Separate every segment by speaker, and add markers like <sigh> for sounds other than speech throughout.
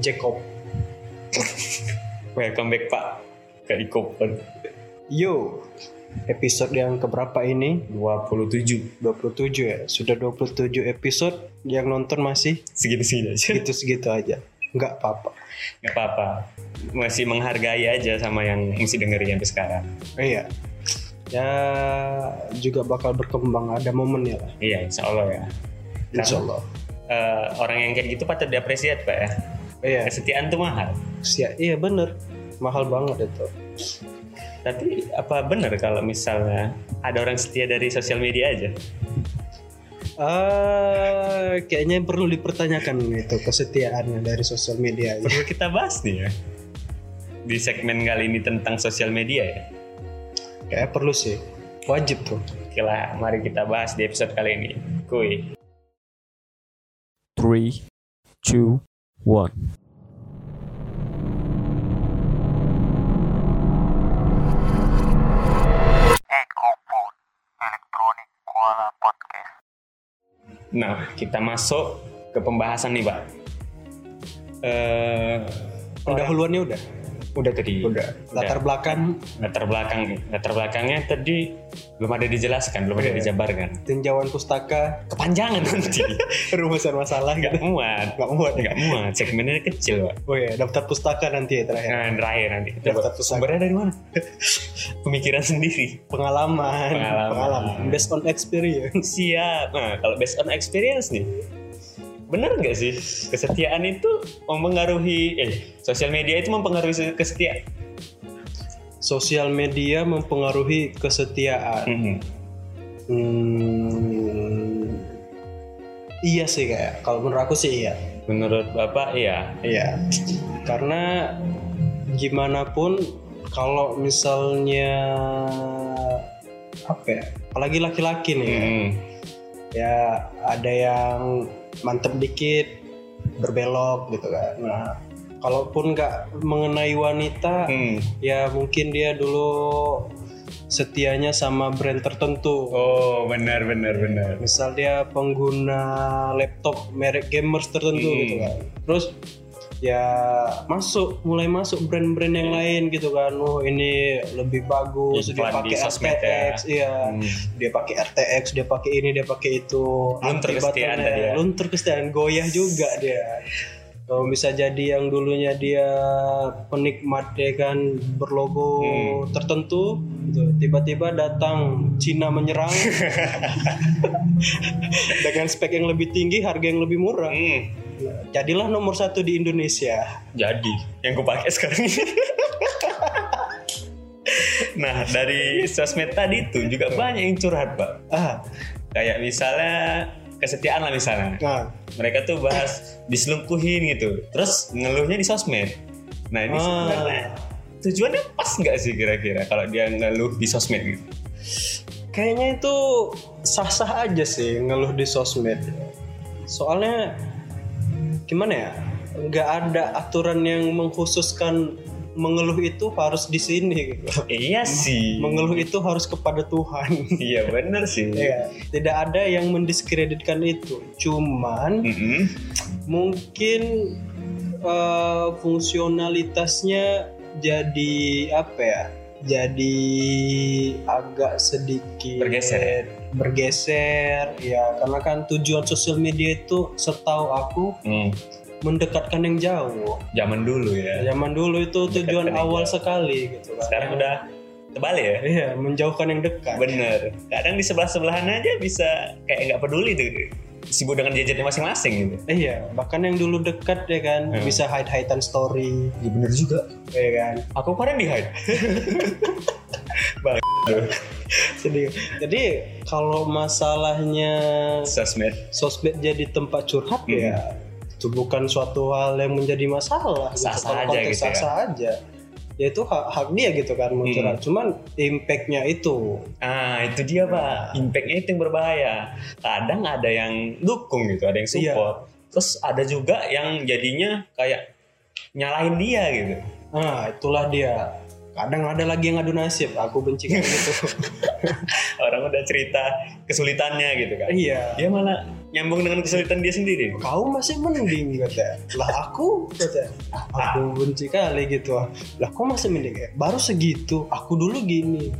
Speaker 1: Jacob.
Speaker 2: Welcome back Pak ke Ikopen
Speaker 1: Yo, episode yang keberapa ini?
Speaker 2: 27
Speaker 1: 27 ya. Sudah 27 episode yang nonton masih <laughs>
Speaker 2: segini-segini aja
Speaker 1: segitu-segitu aja. Nggak apa-apa.
Speaker 2: nggak apa-apa masih menghargai aja sama yang mesti dengerin sampai sekarang
Speaker 1: Iya. Ya juga bakal berkembang ada momennya lah.
Speaker 2: iya Insya Allah ya
Speaker 1: Insya Allah.
Speaker 2: Eh, orang yang kayak gitu patut diapresiat Pak ya
Speaker 1: Iya,
Speaker 2: kesetiaan tuh mahal
Speaker 1: sia- iya bener. Mahal banget itu.
Speaker 2: tapi apa benar kalau misalnya ada orang setia dari sosial media aja
Speaker 1: Ah, kayaknya perlu dipertanyakan itu kesetiaannya dari sosial media.
Speaker 2: perlu kita bahas nih ya di segmen kali ini tentang sosial media ya
Speaker 1: Kayaknya perlu sih. Wajib tuh.
Speaker 2: Oke lah, mari kita bahas di episode kali ini. Kuy.
Speaker 3: three, two, one.
Speaker 2: Nah, kita masuk ke pembahasan nih, Pak. Eh, orang-
Speaker 1: Pendahuluannya udah.
Speaker 2: udah tadi.
Speaker 1: Udah. Latar belakang
Speaker 2: latar belakang, latar belakangnya tadi belum ada dijelaskan, belum ada
Speaker 1: Iya.
Speaker 2: dijabarkan.
Speaker 1: tinjauan pustaka
Speaker 2: Kepanjangan nanti.
Speaker 1: rumusan masalah
Speaker 2: Nggak
Speaker 1: gitu.
Speaker 2: muat.
Speaker 1: Gak muat ya.
Speaker 2: Nggak muat. Segmennya kecil, Pak.
Speaker 1: Oh iya, daftar pustaka nanti ya terakhir.
Speaker 2: Nah, terakhir nanti.
Speaker 1: Daftar
Speaker 2: Coba,
Speaker 1: pustaka.
Speaker 2: Sumbernya dari mana? Pemikiran sendiri.
Speaker 1: Pengalaman,
Speaker 2: Pengalaman.
Speaker 1: based on experience.
Speaker 2: Siap. Nah, kalau based on experience nih, bener nggak sih kesetiaan itu mempengaruhi? Eh, sosial media itu mempengaruhi se- kesetiaan.
Speaker 1: Sosial media mempengaruhi kesetiaan.
Speaker 2: Mhm.
Speaker 1: Hmm, iya sih kayak kalau menurut aku sih iya.
Speaker 2: Menurut bapak, iya.
Speaker 1: Iya. Karena gimana pun kalau misalnya apa ya? Apalagi laki-laki nih. ya.
Speaker 2: Mhm.
Speaker 1: ya ada yang mantep dikit berbelok gitu kan nah kalaupun nggak mengenai wanita
Speaker 2: Mhm.
Speaker 1: ya mungkin dia dulu setianya sama brand tertentu
Speaker 2: Oh, benar, benar, benar.
Speaker 1: misal dia pengguna laptop merek gamers tertentu
Speaker 2: Hmm.
Speaker 1: gitu kan terus ya masuk mulai masuk brand-brand
Speaker 2: Hmm.
Speaker 1: yang lain gitu kan oh ini lebih bagus dia
Speaker 2: Iklan di
Speaker 1: pakai
Speaker 2: sosmed ya.
Speaker 1: RTX iya
Speaker 2: Mhm.
Speaker 1: dia pakai RTX, dia pakai ini, dia pakai itu.
Speaker 2: Luntur
Speaker 1: Aktif
Speaker 2: kesetiaan
Speaker 1: buttonnya.
Speaker 2: tadi ya.
Speaker 1: Luntur kesetiaan, goyah juga dia. Kalau bisa jadi yang dulunya dia penikmat ya kan berlogo
Speaker 2: Hmm.
Speaker 1: tertentu, gitu. tiba-tiba datang Cina
Speaker 2: <laughs>
Speaker 1: menyerang dengan spek yang lebih tinggi, harga yang lebih murah.
Speaker 2: Mhm.
Speaker 1: Nah, jadilah nomor satu di Indonesia.
Speaker 2: Jadi, yang gue pakai sekarang ini. nah, dari sosmed tadi itu juga banyak yang curhat, Pak.
Speaker 1: Ah,
Speaker 2: Kayak misalnya kesetiaan lah misalnya.
Speaker 1: nah,
Speaker 2: mereka tuh bahas diselingkuhin gitu terus ngeluhnya di sosmed nah
Speaker 1: Ah.
Speaker 2: ini sebenarnya tujuannya pas nggak sih kira-kira kalau dia ngeluh di sosmed gitu
Speaker 1: Kayaknya itu sah-sah aja sih ngeluh di sosmed. Soalnya gimana ya? Nggak ada aturan yang mengkhususkan mengeluh itu harus di sini gitu.
Speaker 2: iya sih
Speaker 1: Mengeluh itu harus kepada Tuhan. <laughs>
Speaker 2: iya bener sih
Speaker 1: Iya. Tidak ada yang mendiskreditkan itu. Cuman
Speaker 2: Mm-mm.
Speaker 1: mungkin eh, fungsionalitasnya jadi apa ya? Jadi agak sedikit
Speaker 2: Bergeser. ya?
Speaker 1: bergeser ya karena kan tujuan sosial media itu setahu aku
Speaker 2: Hmm,
Speaker 1: mendekatkan yang jauh.
Speaker 2: zaman dulu ya
Speaker 1: Zaman dulu itu tujuan
Speaker 2: yang
Speaker 1: awal sekali gitu kan.
Speaker 2: sekarang udah terbalik ya
Speaker 1: iya menjauhkan yang dekat.
Speaker 2: bener kadang di sebelah sebelahan aja bisa kayak nggak peduli tuh sibuk dengan gadgetnya masing-masing gitu
Speaker 1: Iya, bahkan yang dulu dekat ya kan
Speaker 2: Hmm.
Speaker 1: bisa hide-hidean story
Speaker 2: iya bener juga
Speaker 1: ya kan.
Speaker 2: aku kemarin di hide
Speaker 1: Sedih. Jadi kalau masalahnya
Speaker 2: sosmed
Speaker 1: sosmed jadi tempat curhat
Speaker 2: Hmm.
Speaker 1: ya itu bukan suatu hal yang menjadi masalah gitu.
Speaker 2: Sah-sah
Speaker 1: Kalau
Speaker 2: aja
Speaker 1: konteks
Speaker 2: gitu ya.
Speaker 1: sah-sah aja ya itu hak, hak dia gitu kan mau
Speaker 2: Hmm.
Speaker 1: curhat cuman impactnya itu
Speaker 2: Ah itu dia pak, impactnya itu yang berbahaya. Kadang ada yang dukung gitu, ada yang support. Terus ada juga yang jadinya kayak nyalahin dia gitu.
Speaker 1: nah itulah dia kadang ada lagi yang ngadu nasib aku benci
Speaker 2: <laughs>
Speaker 1: kayak gitu
Speaker 2: Orang udah cerita kesulitannya gitu kan.
Speaker 1: iya
Speaker 2: Dia malah nyambung dengan kesulitan dia sendiri.
Speaker 1: kau masih mending kata lah aku kata "Ah, aku benci kali gitu ah. lah kau masih mending Eh, baru segitu aku dulu gini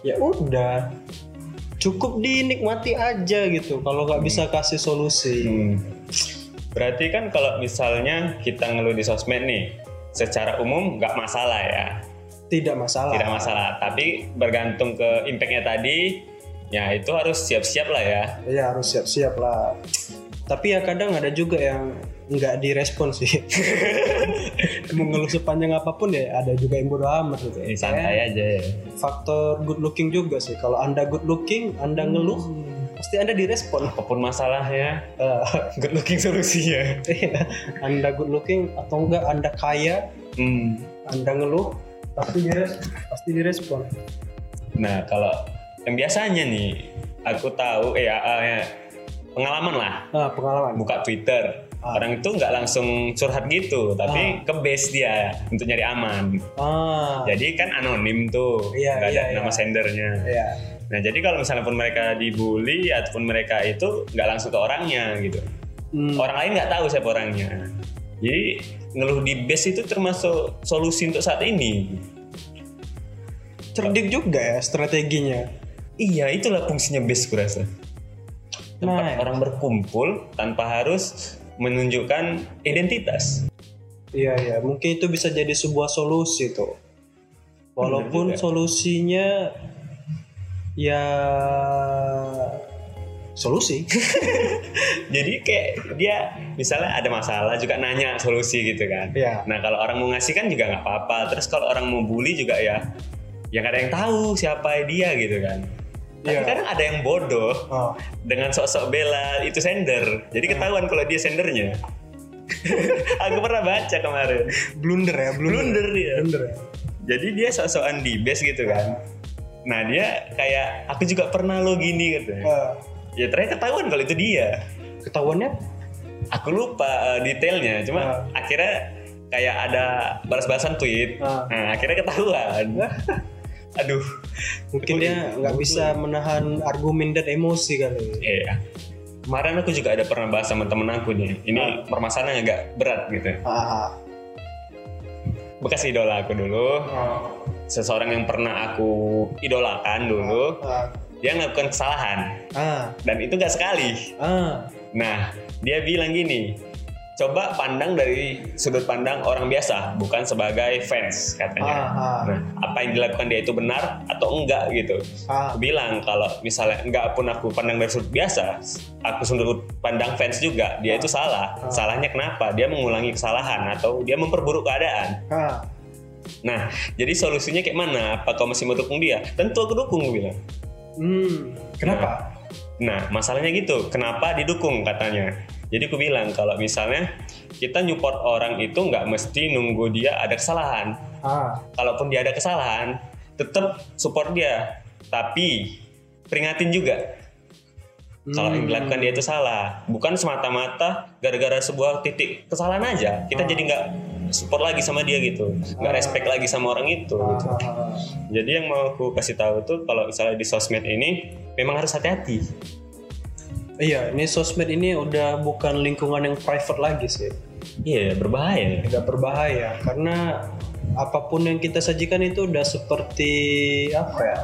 Speaker 1: ya udah cukup dinikmati aja gitu kalau nggak bisa kasih solusi
Speaker 2: Hmm. Berarti kan kalau misalnya kita ngeluh di sosmed nih, secara umum nggak masalah ya,
Speaker 1: tidak masalah
Speaker 2: tidak masalah. Tapi bergantung ke impactnya tadi, ya itu harus siap-siap lah ya.
Speaker 1: ya harus siap-siap lah tapi ya kadang ada juga yang nggak direspon
Speaker 2: <laughs>
Speaker 1: sih mau ngeluh sepanjang apapun ya ada juga yang bodo amat gitu
Speaker 2: Ini santai aja ya.
Speaker 1: faktor good looking juga sih kalau anda good looking anda ngeluh
Speaker 2: Hmm.
Speaker 1: pasti anda direspon
Speaker 2: Apapun masalahnya,
Speaker 1: Eh, <laughs>
Speaker 2: good looking <laughs> ya. solusinya.
Speaker 1: iya. anda good looking atau enggak anda kaya
Speaker 2: Hmm.
Speaker 1: anda ngeluh pasti direspon pasti direspon
Speaker 2: Nah kalau yang biasanya nih, aku tahu, eh, ya, eh, ya, pengalaman lah,
Speaker 1: nah pengalaman
Speaker 2: buka Twitter.
Speaker 1: Ah.
Speaker 2: Orang itu nggak langsung curhat gitu, tapi ke base dia untuk nyari aman.
Speaker 1: ah
Speaker 2: Jadi kan anonim tuh,
Speaker 1: Iya,
Speaker 2: nggak ada
Speaker 1: iya,
Speaker 2: nama
Speaker 1: iya.
Speaker 2: sendernya.
Speaker 1: iya
Speaker 2: Nah jadi kalau misalnya pun mereka dibully ataupun mereka itu nggak langsung ke orangnya gitu,
Speaker 1: Hmm.
Speaker 2: orang lain nggak tahu siapa orangnya. Jadi ngeluh di base itu termasuk solusi untuk saat ini.
Speaker 1: cerdik juga ya strateginya
Speaker 2: Iya itulah fungsinya base kurasa.
Speaker 1: Nah.
Speaker 2: Tempat orang berkumpul tanpa harus menunjukkan identitas.
Speaker 1: Iya iya, mungkin itu bisa jadi sebuah solusi tuh. Walaupun
Speaker 2: juga.
Speaker 1: solusinya ya
Speaker 2: <laughs>
Speaker 1: solusi.
Speaker 2: Jadi kayak dia misalnya ada masalah juga nanya solusi gitu kan.
Speaker 1: Iya.
Speaker 2: Nah kalau orang mau ngasih kan juga nggak apa-apa. Terus kalau orang mau bully juga ya, ya nggak ada yang tahu siapa dia gitu kan. Tapi
Speaker 1: Iya.
Speaker 2: kadang ada yang bodoh
Speaker 1: Oh,
Speaker 2: dengan sok-sok bela itu sender. Jadi ketahuan kalau dia sendernya. <laughs> Aku pernah baca kemarin.
Speaker 1: blunder ya, blunder.
Speaker 2: Blunder dia.
Speaker 1: Blunder ya.
Speaker 2: Jadi dia sok-sokan di base gitu kan. Nah dia kayak aku juga pernah lo gini katanya.
Speaker 1: Eh,
Speaker 2: Ya ternyata ketahuan kalau itu dia.
Speaker 1: ketahuannya
Speaker 2: aku lupa eh, detailnya cuma
Speaker 1: Ah.
Speaker 2: akhirnya kayak ada balas-balasan tweet
Speaker 1: Ah.
Speaker 2: nah akhirnya
Speaker 1: <laughs>
Speaker 2: ketahuan aduh
Speaker 1: mungkin dia nggak bisa menahan argumen dan emosi kali.
Speaker 2: iya kemarin aku juga ada pernah bahas sama temen aku nih ini permasalahan agak berat gitu
Speaker 1: Ah,
Speaker 2: bekas idola aku dulu
Speaker 1: ah,
Speaker 2: seseorang yang pernah aku idolakan dulu
Speaker 1: ah,
Speaker 2: dia melakukan kesalahan
Speaker 1: ah,
Speaker 2: dan itu gak sekali
Speaker 1: ah.
Speaker 2: nah dia bilang gini coba pandang dari sudut pandang orang biasa bukan sebagai fans katanya
Speaker 1: ah, ah,
Speaker 2: Nah, apa yang dilakukan dia itu benar atau enggak gitu.
Speaker 1: ah.
Speaker 2: Aku bilang kalau misalnya enggak pun aku pandang dari sudut biasa, aku sudut pandang fans juga, dia itu salah.
Speaker 1: Ah.
Speaker 2: Salahnya kenapa? Dia mengulangi kesalahan atau dia memperburuk keadaan.
Speaker 1: ah.
Speaker 2: Nah, jadi solusinya kayak mana? Apa kau masih mau dukung dia? Tentu aku dukung, aku bilang.
Speaker 1: Hmm, kenapa?
Speaker 2: Nah, masalahnya gitu, kenapa didukung katanya. Jadi aku bilang kalau misalnya kita nyupport orang itu nggak mesti nunggu dia ada kesalahan.
Speaker 1: Ah,
Speaker 2: kalaupun dia ada kesalahan, tetap support dia. Tapi peringatin juga kalau
Speaker 1: hmm,
Speaker 2: yang
Speaker 1: ah,
Speaker 2: dilakukan dia itu salah. Bukan semata-mata gara-gara sebuah titik kesalahan aja. Kita jadi nggak support lagi sama dia gitu, nggak respect lagi sama orang itu. gitu.
Speaker 1: ah, ah, ah.
Speaker 2: Jadi yang mau aku kasih tahu tuh kalau misalnya di sosmed ini memang harus hati-hati.
Speaker 1: Iya, ini sosmed ini udah bukan lingkungan yang private lagi sih.
Speaker 2: Iya, berbahaya.
Speaker 1: Udah berbahaya karena apapun yang kita sajikan itu udah seperti apa ya?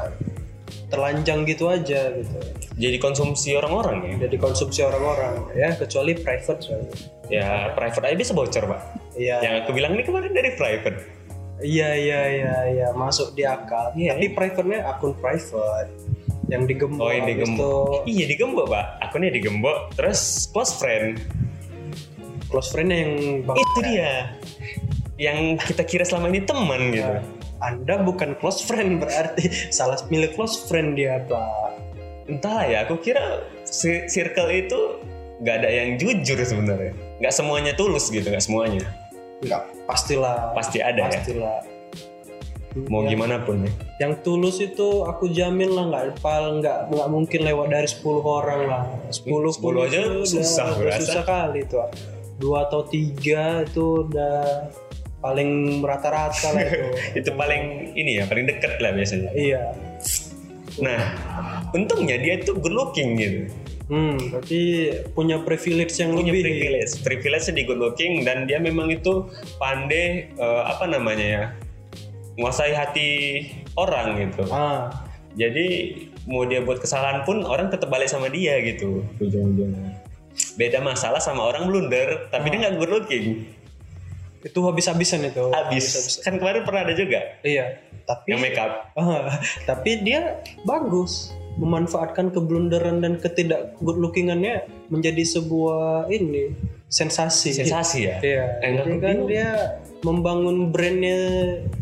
Speaker 1: Telanjang gitu aja gitu.
Speaker 2: Jadi konsumsi orang-orang ya.
Speaker 1: Udah dikonsumsi orang-orang ya, kecuali private. soalnya.
Speaker 2: Ya private aja bisa bocor pak.
Speaker 1: Iya.
Speaker 2: Yang aku bilang ini kemarin dari private.
Speaker 1: Iya iya iya iya masuk di akal.
Speaker 2: Iya.
Speaker 1: Tapi private-nya akun private yang digembok.
Speaker 2: Oh yang
Speaker 1: habis
Speaker 2: digembok. Iya digembok pak. Akunnya digembok. Terus close friend.
Speaker 1: itu close friend-nya yang bang
Speaker 2: Itu dia. Yang kita kira selama ini teman gitu.
Speaker 1: Iya. Anda bukan close friend berarti salah milik close friend dia Pak.
Speaker 2: Entahlah ya. Aku kira si- circle itu nggak ada yang jujur sebenarnya. Nggak semuanya tulus gitu. Nggak semuanya.
Speaker 1: Enggak, pastilah.
Speaker 2: Pasti ada ya.
Speaker 1: pastilah
Speaker 2: Mau
Speaker 1: Yang-
Speaker 2: gimana pun ya.
Speaker 1: yang tulus itu aku jamin lah nggak pal nggak nggak mungkin lewat dari 10 orang lah 10
Speaker 2: 10 aja
Speaker 1: itu udah-
Speaker 2: susah,
Speaker 1: udah
Speaker 2: berasa.
Speaker 1: susah kali itu ah. dua atau tiga itu udah paling rata-rata lah
Speaker 2: <laughs>
Speaker 1: itu
Speaker 2: Itu paling ini ya. Paling deket lah biasanya.
Speaker 1: iya
Speaker 2: Nah. Untungnya dia itu good looking gitu.
Speaker 1: Hmm, berarti punya privilege yang
Speaker 2: punya
Speaker 1: lebih.
Speaker 2: privilege privilege di good looking dan dia memang itu pandai eh, apa namanya ya menguasai hati orang gitu
Speaker 1: Ah,
Speaker 2: jadi mau dia buat kesalahan pun orang tetap balik sama dia gitu ujung-ujungnya beda masalah sama orang blunder
Speaker 1: Ah.
Speaker 2: tapi dia nggak good looking
Speaker 1: itu habis-habisan itu.
Speaker 2: habis kan kemarin pernah ada juga
Speaker 1: Iya, tapi
Speaker 2: yang make up
Speaker 1: Ah, tapi dia bagus memanfaatkan keblunderan dan ketidak good lookingannya menjadi sebuah ini sensasi.
Speaker 2: sensasi ya
Speaker 1: Iya.
Speaker 2: Eh, nggak
Speaker 1: Jadi kan
Speaker 2: kebingung.
Speaker 1: dia membangun brandnya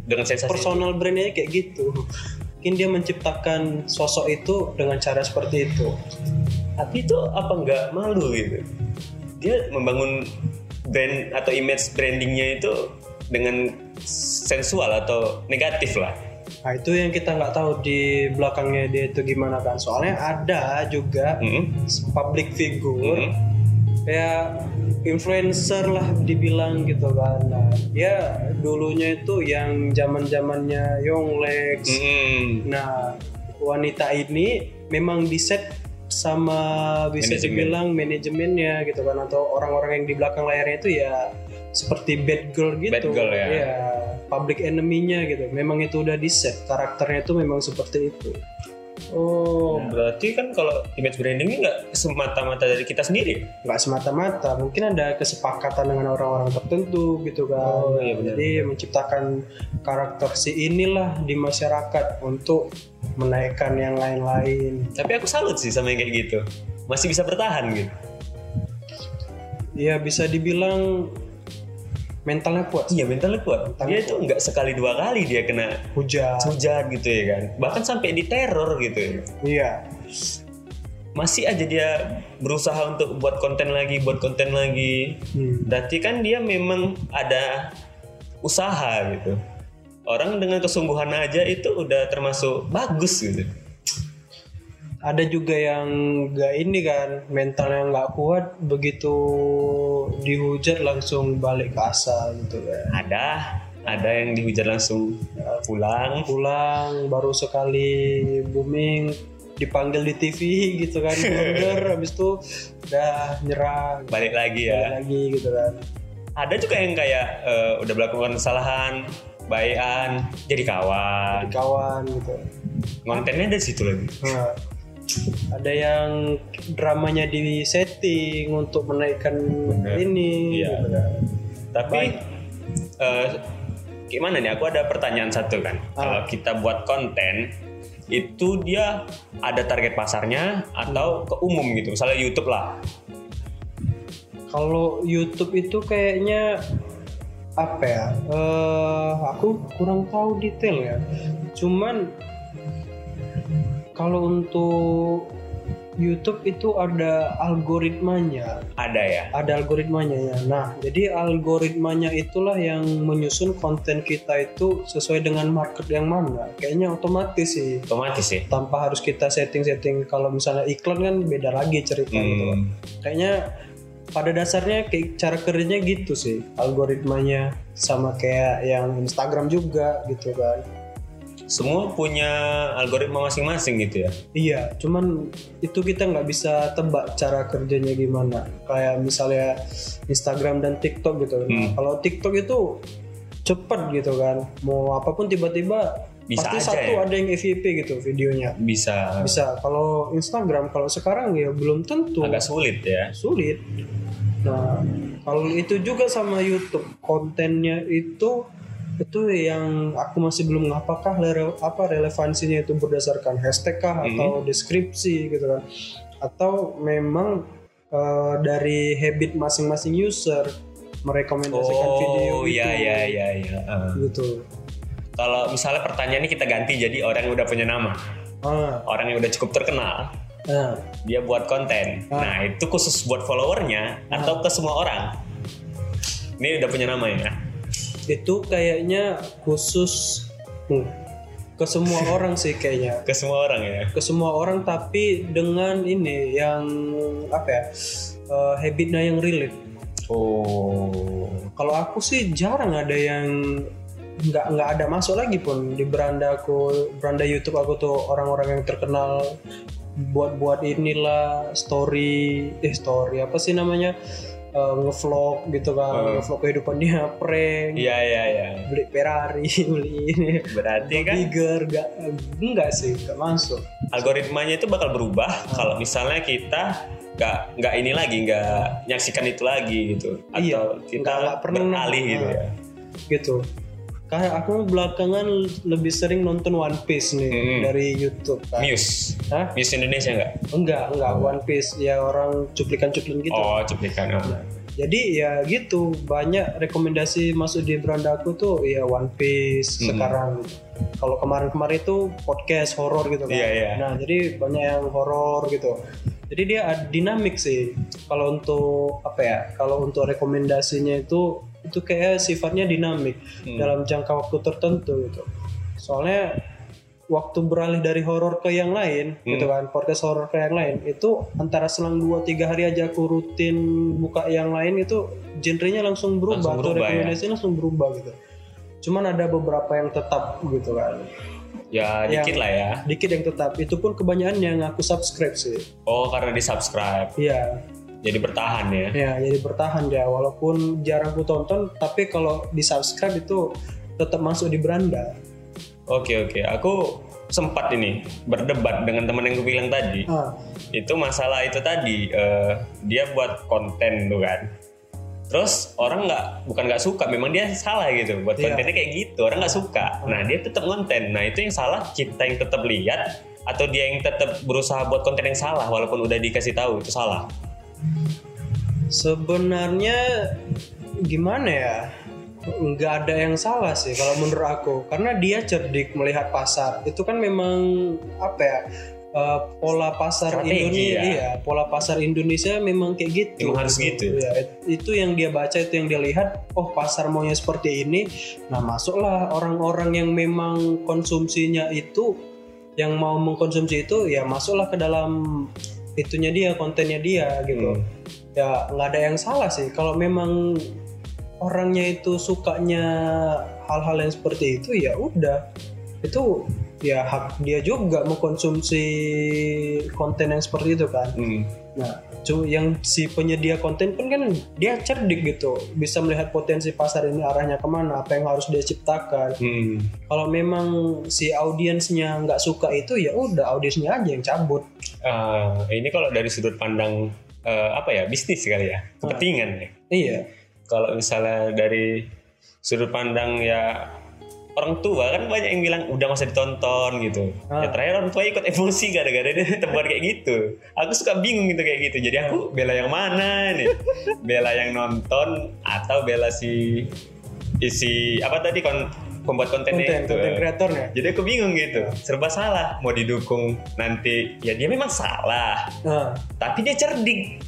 Speaker 2: dengan sensasi
Speaker 1: personal brandnya kayak gitu. Mungkin dia menciptakan sosok itu dengan cara seperti itu.
Speaker 2: tapi itu apa nggak malu gitu dia membangun brand atau image brandingnya itu dengan sensual atau negatif lah
Speaker 1: Nah itu yang kita nggak tahu di belakangnya dia itu gimana kan. Soalnya ada juga
Speaker 2: Mm-mm.
Speaker 1: public figure
Speaker 2: Mm-mm.
Speaker 1: ya influencer lah dibilang gitu kan nah, ya dulunya itu yang zaman zamannya Yonglex
Speaker 2: Mm-mm.
Speaker 1: nah wanita ini memang diset sama bisa
Speaker 2: Manajemen.
Speaker 1: dibilang manajemennya gitu kan atau orang-orang yang di belakang layarnya itu ya seperti bad girl gitu
Speaker 2: Bad girl, ya.
Speaker 1: Iya, public enemy-nya gitu memang itu udah diset karakternya itu memang seperti itu
Speaker 2: oh berarti kan kalau image brandingnya nggak semata-mata dari kita sendiri
Speaker 1: nggak semata-mata mungkin ada kesepakatan dengan orang-orang tertentu gitu kan
Speaker 2: Oh, iya benar,
Speaker 1: jadi menciptakan karakter si inilah di masyarakat untuk menaikkan yang lain-lain
Speaker 2: tapi aku salut sih sama yang kayak gitu masih bisa bertahan gitu
Speaker 1: ya bisa dibilang mentalnya kuat
Speaker 2: iya mentalnya kuat
Speaker 1: Mentalnya
Speaker 2: dia itu nggak sekali dua kali dia kena
Speaker 1: hujan
Speaker 2: hujat gitu ya kan bahkan sampai diteror gitu ya
Speaker 1: iya
Speaker 2: masih aja dia berusaha untuk buat konten lagi, buat konten lagi.
Speaker 1: Hmm.
Speaker 2: Berarti kan dia memang ada usaha gitu. Orang dengan kesungguhan aja itu udah termasuk bagus gitu.
Speaker 1: ada juga yang nggak ini kan mentalnya nggak kuat begitu dihujat langsung balik ke asal gitu kan
Speaker 2: Ada, ada yang dihujat langsung eh, pulang.
Speaker 1: pulang baru sekali booming dipanggil di TV gitu kan blunder habis itu udah nyerah
Speaker 2: Balik lagi
Speaker 1: balik
Speaker 2: ya.
Speaker 1: lagi gitu kan
Speaker 2: Ada juga yang kayak eh, udah melakukan kesalahan, baikan, jadi
Speaker 1: Jadi
Speaker 2: kawan.
Speaker 1: kawan gitu
Speaker 2: Kontennya dari situ lagi.
Speaker 1: Nah, ada yang dramanya di setting untuk menaikkan
Speaker 2: Bener.
Speaker 1: ini
Speaker 2: Iya.
Speaker 1: gitu kan.
Speaker 2: Tapi eh, gimana nih? Aku ada pertanyaan satu kan.
Speaker 1: Ah.
Speaker 2: Kalau kita buat konten itu dia ada target pasarnya
Speaker 1: Hmm.
Speaker 2: atau ke umum gitu. Misalnya YouTube lah.
Speaker 1: kalau YouTube itu kayaknya apa ya eh aku kurang tahu detail ya cuman kalau untuk YouTube itu ada algoritmanya
Speaker 2: Ada ya.
Speaker 1: ada algoritmanya ya. Nah, jadi algoritmanya itulah yang menyusun konten kita itu sesuai dengan market yang mana. Kayaknya otomatis sih.
Speaker 2: Otomatis ya.
Speaker 1: Tanpa harus kita setting-setting kalau misalnya iklan kan beda lagi cerita gitu.
Speaker 2: Hmm.
Speaker 1: Kayaknya pada dasarnya kayak cara kerjanya gitu sih algoritmanya sama kayak yang Instagram juga gitu kan.
Speaker 2: Semua punya algoritma masing-masing gitu ya.
Speaker 1: Iya, cuman itu kita nggak bisa tebak cara kerjanya gimana. Kayak misalnya Instagram dan TikTok gitu. Nah,
Speaker 2: Hmm.
Speaker 1: Kalau TikTok itu cepet gitu kan, mau apapun tiba-tiba
Speaker 2: Bisa
Speaker 1: pasti
Speaker 2: aja
Speaker 1: satu
Speaker 2: ya?
Speaker 1: ada yang FYP gitu videonya.
Speaker 2: Bisa
Speaker 1: Bisa. Kalau Instagram kalau sekarang ya belum tentu
Speaker 2: agak sulit ya.
Speaker 1: sulit. Nah, kalau itu juga sama YouTube kontennya itu itu yang aku masih belum apakah lere- apa relevansinya itu berdasarkan hashtag
Speaker 2: Mhm.
Speaker 1: kah atau deskripsi gitu kan atau memang eh, dari habit masing-masing user merekomendasikan video
Speaker 2: Oh
Speaker 1: gitu
Speaker 2: iya iya iya iya. Eh,
Speaker 1: gitu
Speaker 2: Kalau misalnya pertanyaannya kita ganti jadi orang yang udah punya nama,
Speaker 1: ah
Speaker 2: orang yang udah cukup terkenal,
Speaker 1: nah,
Speaker 2: dia buat konten.
Speaker 1: Ah.
Speaker 2: Nah, itu khusus buat followernya atau ke semua orang. Ini udah punya nama ya.
Speaker 1: itu kayaknya khusus hmm, ke semua orang sih kayaknya
Speaker 2: Ke semua orang ya.
Speaker 1: ke semua orang tapi dengan ini yang apa ya eh, habitnya yang relate.
Speaker 2: Oh.
Speaker 1: Kalau aku sih jarang ada yang nggak nggak ada masuk lagi pun di beranda aku beranda YouTube aku tuh orang-orang yang terkenal buat-buat inilah story eh story apa sih namanya Eh, ngevlog gitu kan
Speaker 2: Hmm.
Speaker 1: ngevlog kehidupan dia prank
Speaker 2: Iya iya iya.
Speaker 1: beli Ferrari <laughs> beli ini
Speaker 2: Berarti kan
Speaker 1: Tiger enggak enggak sih enggak masuk
Speaker 2: algoritmanya itu bakal berubah
Speaker 1: Ah.
Speaker 2: kalau misalnya kita nggak nggak ini lagi nggak nyaksikan itu lagi gitu atau
Speaker 1: Iya, nggak-
Speaker 2: kita
Speaker 1: nggak pernah.
Speaker 2: beralih gitu ya.
Speaker 1: gitu kayak aku belakangan lebih sering nonton One Piece nih
Speaker 2: Hmm.
Speaker 1: dari YouTube kan
Speaker 2: Muse,
Speaker 1: Hah?
Speaker 2: Muse Indonesia nggak?
Speaker 1: enggak enggak One Piece ya orang cuplikan-cuplikan gitu
Speaker 2: Oh cuplikan. Oh.
Speaker 1: jadi ya gitu banyak rekomendasi masuk di beranda aku tuh ya One Piece
Speaker 2: Hmm.
Speaker 1: sekarang kalau kemarin-kemarin itu podcast horor gitu kan
Speaker 2: Iya, iya.
Speaker 1: nah jadi banyak yang horor gitu jadi dia ad- dinamik sih kalau untuk apa ya kalau untuk rekomendasinya itu itu kayak sifatnya dinamik
Speaker 2: Hmm.
Speaker 1: dalam jangka waktu tertentu gitu soalnya waktu beralih dari horor ke yang lain
Speaker 2: Hmm.
Speaker 1: gitu kan podcast horor ke yang lain itu antara selang 2 3 hari aja aku rutin buka yang lain itu genrenya langsung berubah,
Speaker 2: Langsung
Speaker 1: atau
Speaker 2: berubah, ya.
Speaker 1: rekomendasinya langsung berubah gitu cuman ada beberapa yang tetap gitu kan
Speaker 2: Ya
Speaker 1: Yang-
Speaker 2: dikit lah ya.
Speaker 1: dikit yang tetap itu pun kebanyakan yang aku subscribe sih
Speaker 2: Oh karena di subscribe
Speaker 1: iya
Speaker 2: jadi bertahan ya.
Speaker 1: ya jadi bertahan ya walaupun jarang ku tonton tapi kalau di subscribe itu tetap masuk di beranda
Speaker 2: Oke oke aku sempat ini berdebat dengan teman yang gue bilang tadi
Speaker 1: ah,
Speaker 2: itu masalah itu tadi eh, dia buat konten tuh kan terus orang nggak bukan nggak suka memang dia salah gitu buat
Speaker 1: Iya.
Speaker 2: kontennya kayak gitu orang nggak suka nah dia tetap konten nah itu yang salah kita yang tetap lihat atau dia yang tetap berusaha buat konten yang salah walaupun udah dikasih tahu itu salah
Speaker 1: Sebenarnya gimana ya? Nggak ada yang salah sih kalau menurut aku karena dia cerdik melihat pasar. Itu kan memang apa ya? eh, pola pasar
Speaker 2: Strategi
Speaker 1: Indonesia,
Speaker 2: ya.
Speaker 1: iya, pola pasar Indonesia memang kayak gitu.
Speaker 2: Memang harus gitu.
Speaker 1: Iya, itu yang dia baca, itu yang dia lihat. Oh, pasar maunya seperti ini. Nah, masuklah orang-orang yang memang konsumsinya itu, yang mau mengkonsumsi itu, ya masuklah ke dalam itunya dia, kontennya dia gitu
Speaker 2: Hmm.
Speaker 1: ya nggak ada yang salah sih kalau memang orangnya itu sukanya hal-hal yang seperti itu ya udah itu ya hak dia juga mengkonsumsi konten yang seperti itu kan
Speaker 2: Hmm.
Speaker 1: nah cu- yang si penyedia konten pun kan dia cerdik gitu bisa melihat potensi pasar ini arahnya kemana apa yang harus dia ciptakan
Speaker 2: Hmm.
Speaker 1: kalau memang si audiensnya nggak suka itu ya udah audiensnya aja yang cabut
Speaker 2: Ah, ini kalau dari sudut pandang eh, apa ya bisnis kali ya kepentingan ya
Speaker 1: iya
Speaker 2: kalau misalnya dari sudut pandang ya orang tua kan banyak yang bilang udah masa ditonton gitu.
Speaker 1: Ah.
Speaker 2: Ya terakhir orang tua ikut emosi gara-gara dia <laughs> tebar kayak gitu. Aku suka bingung gitu kayak gitu. Jadi aku bela yang mana
Speaker 1: <laughs>
Speaker 2: nih? bela yang nonton atau bela si isi apa tadi kon pembuat kontennya
Speaker 1: konten
Speaker 2: itu.
Speaker 1: konten kreatornya
Speaker 2: Jadi aku bingung gitu. Serba salah mau didukung nanti ya dia memang salah,
Speaker 1: nah. <laughs>
Speaker 2: tapi dia cerdik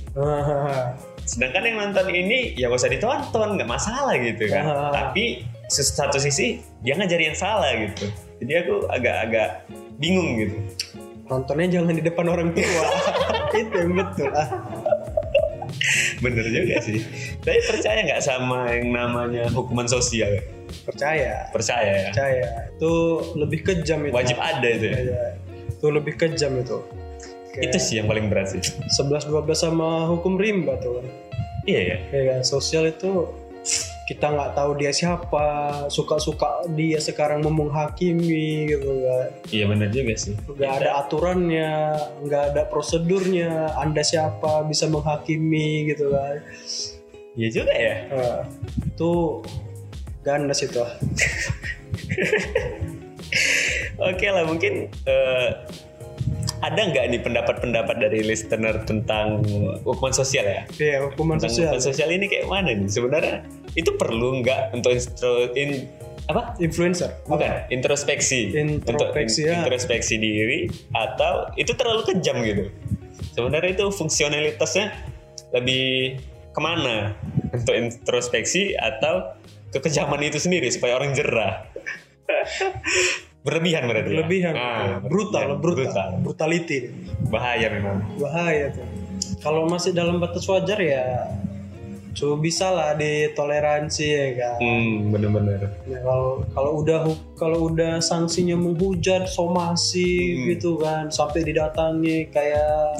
Speaker 2: sedangkan yang nonton ini ya gak usah ditonton nggak masalah gitu kan
Speaker 1: Ah.
Speaker 2: tapi se- satu sisi dia ngajari yang salah gitu jadi aku agak-agak bingung gitu <laughs>
Speaker 1: nontonnya jangan di depan orang tua <laughs> itu yang betul ah
Speaker 2: bener juga sih tapi percaya nggak sama yang namanya hukuman sosial
Speaker 1: percaya
Speaker 2: percaya ya
Speaker 1: percaya itu lebih kejam itu
Speaker 2: wajib ada itu ya
Speaker 1: Iya. itu lebih kejam itu Kayak
Speaker 2: itu sih yang paling berat sih <laughs>
Speaker 1: 11 12 sama hukum rimba tuh kan
Speaker 2: iya ya
Speaker 1: Kayak sosial itu kita nggak tahu dia siapa suka-suka dia sekarang memenghakimi gitu kan
Speaker 2: iya bener juga sih
Speaker 1: nggak ada aturannya nggak ada prosedurnya anda siapa bisa menghakimi gitu kan
Speaker 2: iya juga ya
Speaker 1: Nah, itu ganas itu ah.
Speaker 2: oke lah mungkin eh, ada nggak nih pendapat-pendapat dari listener tentang hukuman sosial ya
Speaker 1: Iya, hukuman
Speaker 2: tentang
Speaker 1: sosial.
Speaker 2: hukuman sosial ini kayak mana nih sebenarnya itu perlu nggak untuk instro in apa
Speaker 1: Influencer.
Speaker 2: bukan introspeksi untuk
Speaker 1: Introspeksi, ya.
Speaker 2: introspeksi diri atau itu terlalu kejam gitu sebenarnya itu fungsionalitasnya lebih kemana untuk introspeksi atau kekejaman itu sendiri supaya orang jerah berlebihan berarti ya?
Speaker 1: Berlebihan.
Speaker 2: Ah,
Speaker 1: brutal, brutal, Brutality.
Speaker 2: bahaya memang
Speaker 1: Bahaya tuh. Kalau masih dalam batas wajar ya Coba bisa lah ditoleransi ya kan.
Speaker 2: Hmm, bener-bener.
Speaker 1: Ya, kalau kalau udah hu- kalau udah sanksinya menghujat
Speaker 2: Hmm.
Speaker 1: somasi gitu kan sampai didatangi kayak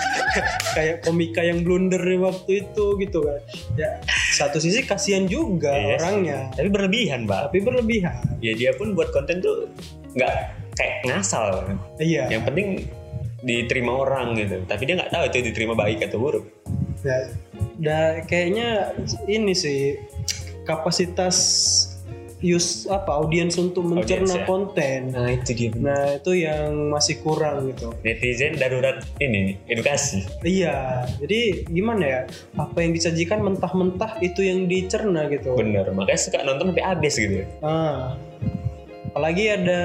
Speaker 1: <laughs> kayak komika yang blunder di waktu itu gitu kan ya satu sisi kasihan juga
Speaker 2: Iya sih.
Speaker 1: orangnya
Speaker 2: Tapi berlebihan, Mbak.
Speaker 1: tapi berlebihan
Speaker 2: Ya dia pun buat konten tuh nggak kayak ngasal.
Speaker 1: iya
Speaker 2: Yang penting diterima orang gitu. Tapi dia nggak tahu itu diterima baik atau buruk.
Speaker 1: ya da- kayaknya ini sih kapasitas use apa audiens untuk
Speaker 2: Audiens,
Speaker 1: mencerna
Speaker 2: ya.
Speaker 1: konten
Speaker 2: Nah, itu dia.
Speaker 1: nah itu yang masih kurang gitu
Speaker 2: Netizen darurat ini edukasi.
Speaker 1: Iya, jadi gimana ya? Apa yang disajikan mentah-mentah itu yang dicerna gitu.
Speaker 2: Bener, makanya suka nonton sampai habis gitu.
Speaker 1: Ah. Apalagi ada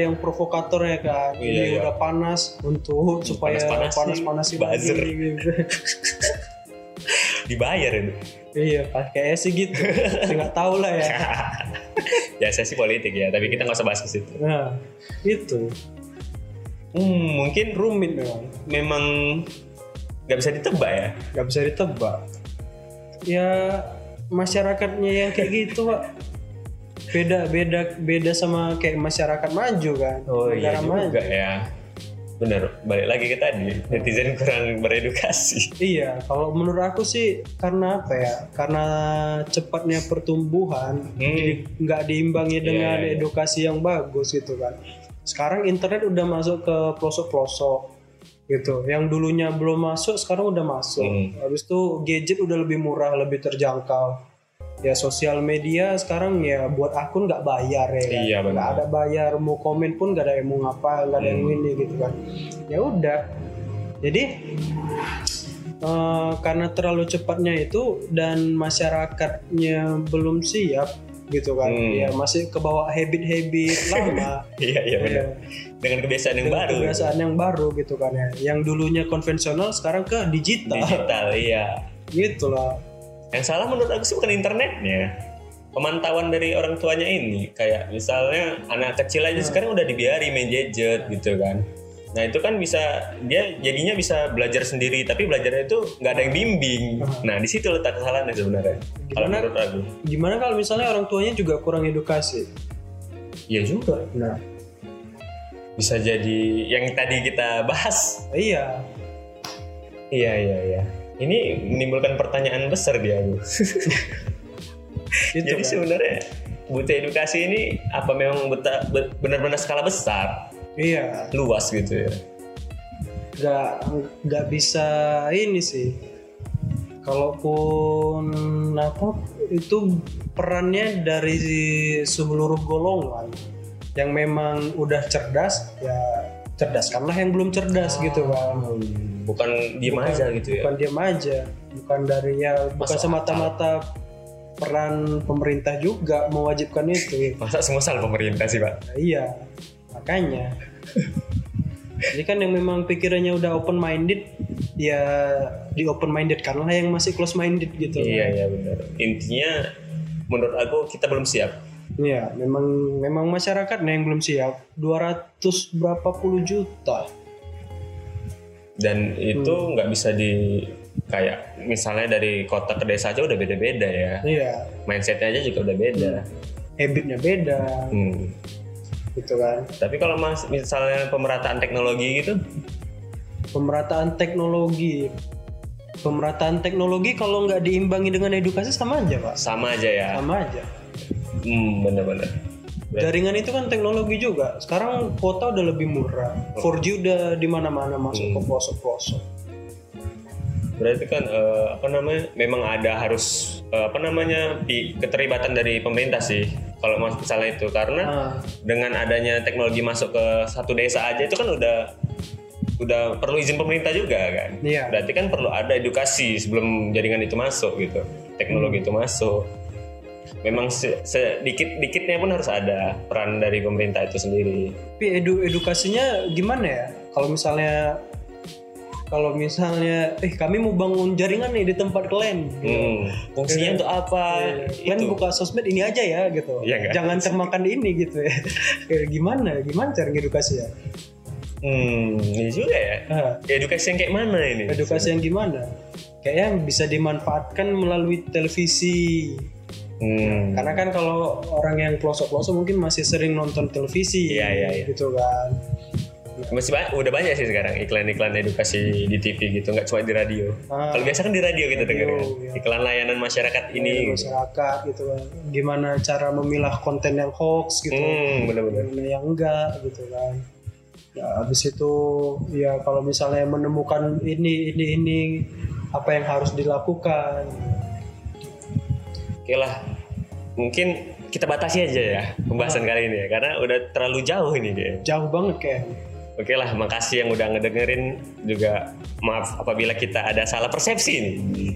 Speaker 1: yang provokator ya kan.
Speaker 2: Iya,
Speaker 1: Ini
Speaker 2: iya.
Speaker 1: udah panas untuk supaya
Speaker 2: Panas-panasin,
Speaker 1: panas-panasin
Speaker 2: buzzer.
Speaker 1: lagi, gitu.
Speaker 2: Dibayar itu.
Speaker 1: <laughs> iya, kayaknya sih
Speaker 2: <laughs>
Speaker 1: gitu. Enggak tahu lah ya.
Speaker 2: ya saya sih politik ya, tapi kita nggak usah bahas ke situ.
Speaker 1: Nah, itu
Speaker 2: Hmm, mungkin rum
Speaker 1: rumit memang.
Speaker 2: memang nggak bisa ditebak ya.
Speaker 1: Gak bisa ditebak. Ya masyarakatnya yang kayak gitu, Pak. Beda beda beda sama kayak masyarakat maju kan. Negara maju.
Speaker 2: Oh, juga ya. Bener, balik lagi ke tadi, netizen kurang beredukasi. <laughs>
Speaker 1: Iya, kalau menurut aku sih karena apa ya? Karena cepatnya pertumbuhan
Speaker 2: Hmm,
Speaker 1: nggak diimbangi
Speaker 2: Iya,
Speaker 1: dengan
Speaker 2: iya, iya.
Speaker 1: edukasi yang bagus gitu kan. Sekarang internet udah masuk ke pelosok-pelosok gitu. Yang dulunya belum masuk sekarang udah masuk.
Speaker 2: Hmm.
Speaker 1: Habis itu gadget udah lebih murah, lebih terjangkau. Ya sosial media sekarang ya buat akun nggak bayar ya. kan?
Speaker 2: Iya, benar. Hmm.
Speaker 1: Nggak ada bayar, mau komen pun nggak ada yang mau ngapa, nggak ada yang ini gitu kan. Ya udah. Jadi Eh, karena terlalu cepatnya itu dan masyarakatnya belum siap gitu kan
Speaker 2: Hmm.
Speaker 1: ya masih kebawa
Speaker 2: <laughs>
Speaker 1: habit-habit lama
Speaker 2: iya iya bener.
Speaker 1: ya,
Speaker 2: Dengan kebiasaan yang
Speaker 1: dengan
Speaker 2: baru.
Speaker 1: kebiasaan yang baru gitu kan ya yang dulunya konvensional sekarang ke digital
Speaker 2: Digital, iya.
Speaker 1: gitu lah
Speaker 2: Yang salah menurut aku sih bukan internetnya. Pemantauan dari orang tuanya ini, kayak misalnya anak kecil aja sekarang udah dibiari main gadget gitu kan. Nah itu kan bisa dia jadinya bisa belajar sendiri, tapi belajarnya itu nggak ada yang bimbing. Nah di situ letak kesalahannya sebenarnya. Kalau
Speaker 1: Gimana?
Speaker 2: menurut aku,
Speaker 1: gimana kalau misalnya orang tuanya juga kurang edukasi
Speaker 2: iya juga
Speaker 1: nah
Speaker 2: bisa jadi yang tadi kita bahas.
Speaker 1: iya
Speaker 2: Iya iya iya. Ini menimbulkan pertanyaan besar di aku.
Speaker 1: gitu
Speaker 2: jadi
Speaker 1: kan.
Speaker 2: sebenarnya butuh edukasi ini apa memang beta- be- benar-benar skala besar?
Speaker 1: iya
Speaker 2: luas gitu ya.
Speaker 1: nggak nggak bisa ini sih kalaupun apa itu perannya dari seluruh golongan yang memang udah cerdas ya cerdaskanlah yang belum cerdas gitu kan
Speaker 2: Bukan diem aja gitu ya.
Speaker 1: bukan diam aja bukan dari ya bukan
Speaker 2: Masuk
Speaker 1: semata-mata peran pemerintah juga mewajibkan itu ya.
Speaker 2: Masa semua salah pemerintah sih pak?
Speaker 1: Nah, iya, makanya. Jadi kan yang memang pikirannya udah open minded, ya di open minded karena yang masih close minded gitu.
Speaker 2: Iya iya benar. Intinya menurut aku kita belum siap.
Speaker 1: Iya, memang memang masyarakatnya yang belum siap. 200 berapa puluh juta.
Speaker 2: Dan itu
Speaker 1: Hmm.
Speaker 2: nggak bisa di kayak misalnya dari kota ke desa aja udah beda-beda ya.
Speaker 1: Iya,
Speaker 2: Mindsetnya aja juga udah beda.
Speaker 1: habitnya beda
Speaker 2: Hmm.
Speaker 1: gitu kan.
Speaker 2: Tapi kalau mas misalnya pemerataan teknologi gitu,
Speaker 1: Pemerataan teknologi. Pemerataan teknologi kalau nggak diimbangi dengan edukasi sama aja, Pak.
Speaker 2: sama aja ya.
Speaker 1: Sama aja.
Speaker 2: Hmm, bener-bener. Iya.
Speaker 1: Jaringan itu kan teknologi juga. Sekarang kuota udah lebih murah. 4G udah di mana-mana masuk
Speaker 2: Hmm.
Speaker 1: ke pelosok-pelosok.
Speaker 2: Berarti kan eh, apa namanya? Memang ada harus eh, apa namanya di keterlibatan dari pemerintah sih kalau mas- misalnya itu karena
Speaker 1: Nah,
Speaker 2: dengan adanya teknologi masuk ke satu desa aja itu kan udah udah perlu izin pemerintah juga kan.
Speaker 1: Iya.
Speaker 2: Berarti kan perlu ada edukasi sebelum jaringan itu masuk gitu. Teknologi itu masuk. Memang se- sedikit-dikitnya pun harus ada peran dari pemerintah itu sendiri.
Speaker 1: tapi edu edukasinya gimana ya? Kalau misalnya kalau misalnya eh kami mau bangun jaringan nih di tempat kalian.
Speaker 2: Hmm. Fungsinya untuk apa?
Speaker 1: Kalian buka sosmed ini aja ya gitu.
Speaker 2: Iya nggak?
Speaker 1: Jangan termakan ini gitu ya. <laughs> Kayak gimana? Gimana cara edukasinya?
Speaker 2: Hmm, ini juga ya.
Speaker 1: Ah,
Speaker 2: Edukasi yang kayak mana ini?
Speaker 1: edukasi yang gimana? kayaknya bisa dimanfaatkan melalui televisi
Speaker 2: Hmm.
Speaker 1: karena kan kalau orang yang pelosok-pelosok mungkin masih sering nonton televisi
Speaker 2: Iya, iya, iya.
Speaker 1: gitu kan
Speaker 2: Masih banyak, udah banyak sih sekarang iklan-iklan edukasi di TV gitu, nggak cuma di radio.
Speaker 1: Ah.
Speaker 2: Kalau biasa kan di radio
Speaker 1: Radio,
Speaker 2: kita dengar kan.
Speaker 1: iya.
Speaker 2: Iklan layanan masyarakat
Speaker 1: Dari
Speaker 2: ini.
Speaker 1: masyarakat gitu kan gimana cara memilah konten yang hoax gitu
Speaker 2: Hmm, bener-bener.
Speaker 1: mana yang enggak gitu kan ya habis itu ya kalau misalnya menemukan ini ini ini apa yang harus dilakukan
Speaker 2: Oke lah, mungkin kita batasi aja ya pembahasan
Speaker 1: Ah.
Speaker 2: kali ini ya, karena udah terlalu jauh ini kayaknya.
Speaker 1: jauh banget kayak
Speaker 2: Oke lah, makasih yang udah ngedengerin juga maaf apabila kita ada salah persepsi nih.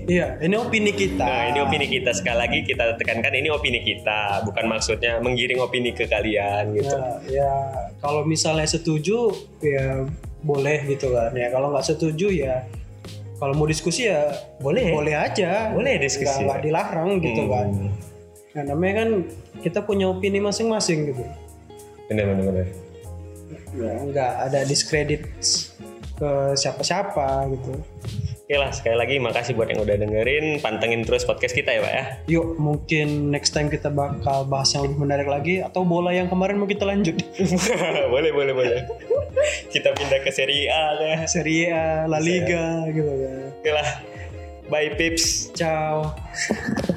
Speaker 1: iya ini opini kita
Speaker 2: Nah, ini opini kita sekali lagi kita tekankan ini opini kita, bukan maksudnya menggiring opini ke kalian gitu.
Speaker 1: ya, ya kalau misalnya setuju ya boleh gitu kan ya kalau nggak setuju ya kalau mau diskusi ya
Speaker 2: Boleh.
Speaker 1: boleh aja
Speaker 2: Boleh diskusi. ya.
Speaker 1: Nggak- nggak dilarang gitu
Speaker 2: Hmm.
Speaker 1: kan nah namanya kan kita punya opini masing-masing gitu
Speaker 2: Bener bener bener.
Speaker 1: ya nggak ada diskredit ke siapa-siapa gitu
Speaker 2: Oke lah, sekali lagi makasih buat yang udah dengerin, pantengin terus podcast kita ya, Pak ya.
Speaker 1: yuk mungkin next time kita bakal bahas yang lebih menarik lagi atau bola yang kemarin mau kita
Speaker 2: <laughs>
Speaker 1: lanjut
Speaker 2: <laughs> boleh boleh boleh. kita pindah ke seri A ya.
Speaker 1: Serie A, La Liga gitu kan
Speaker 2: Oke lah. Bye pips.
Speaker 1: ciao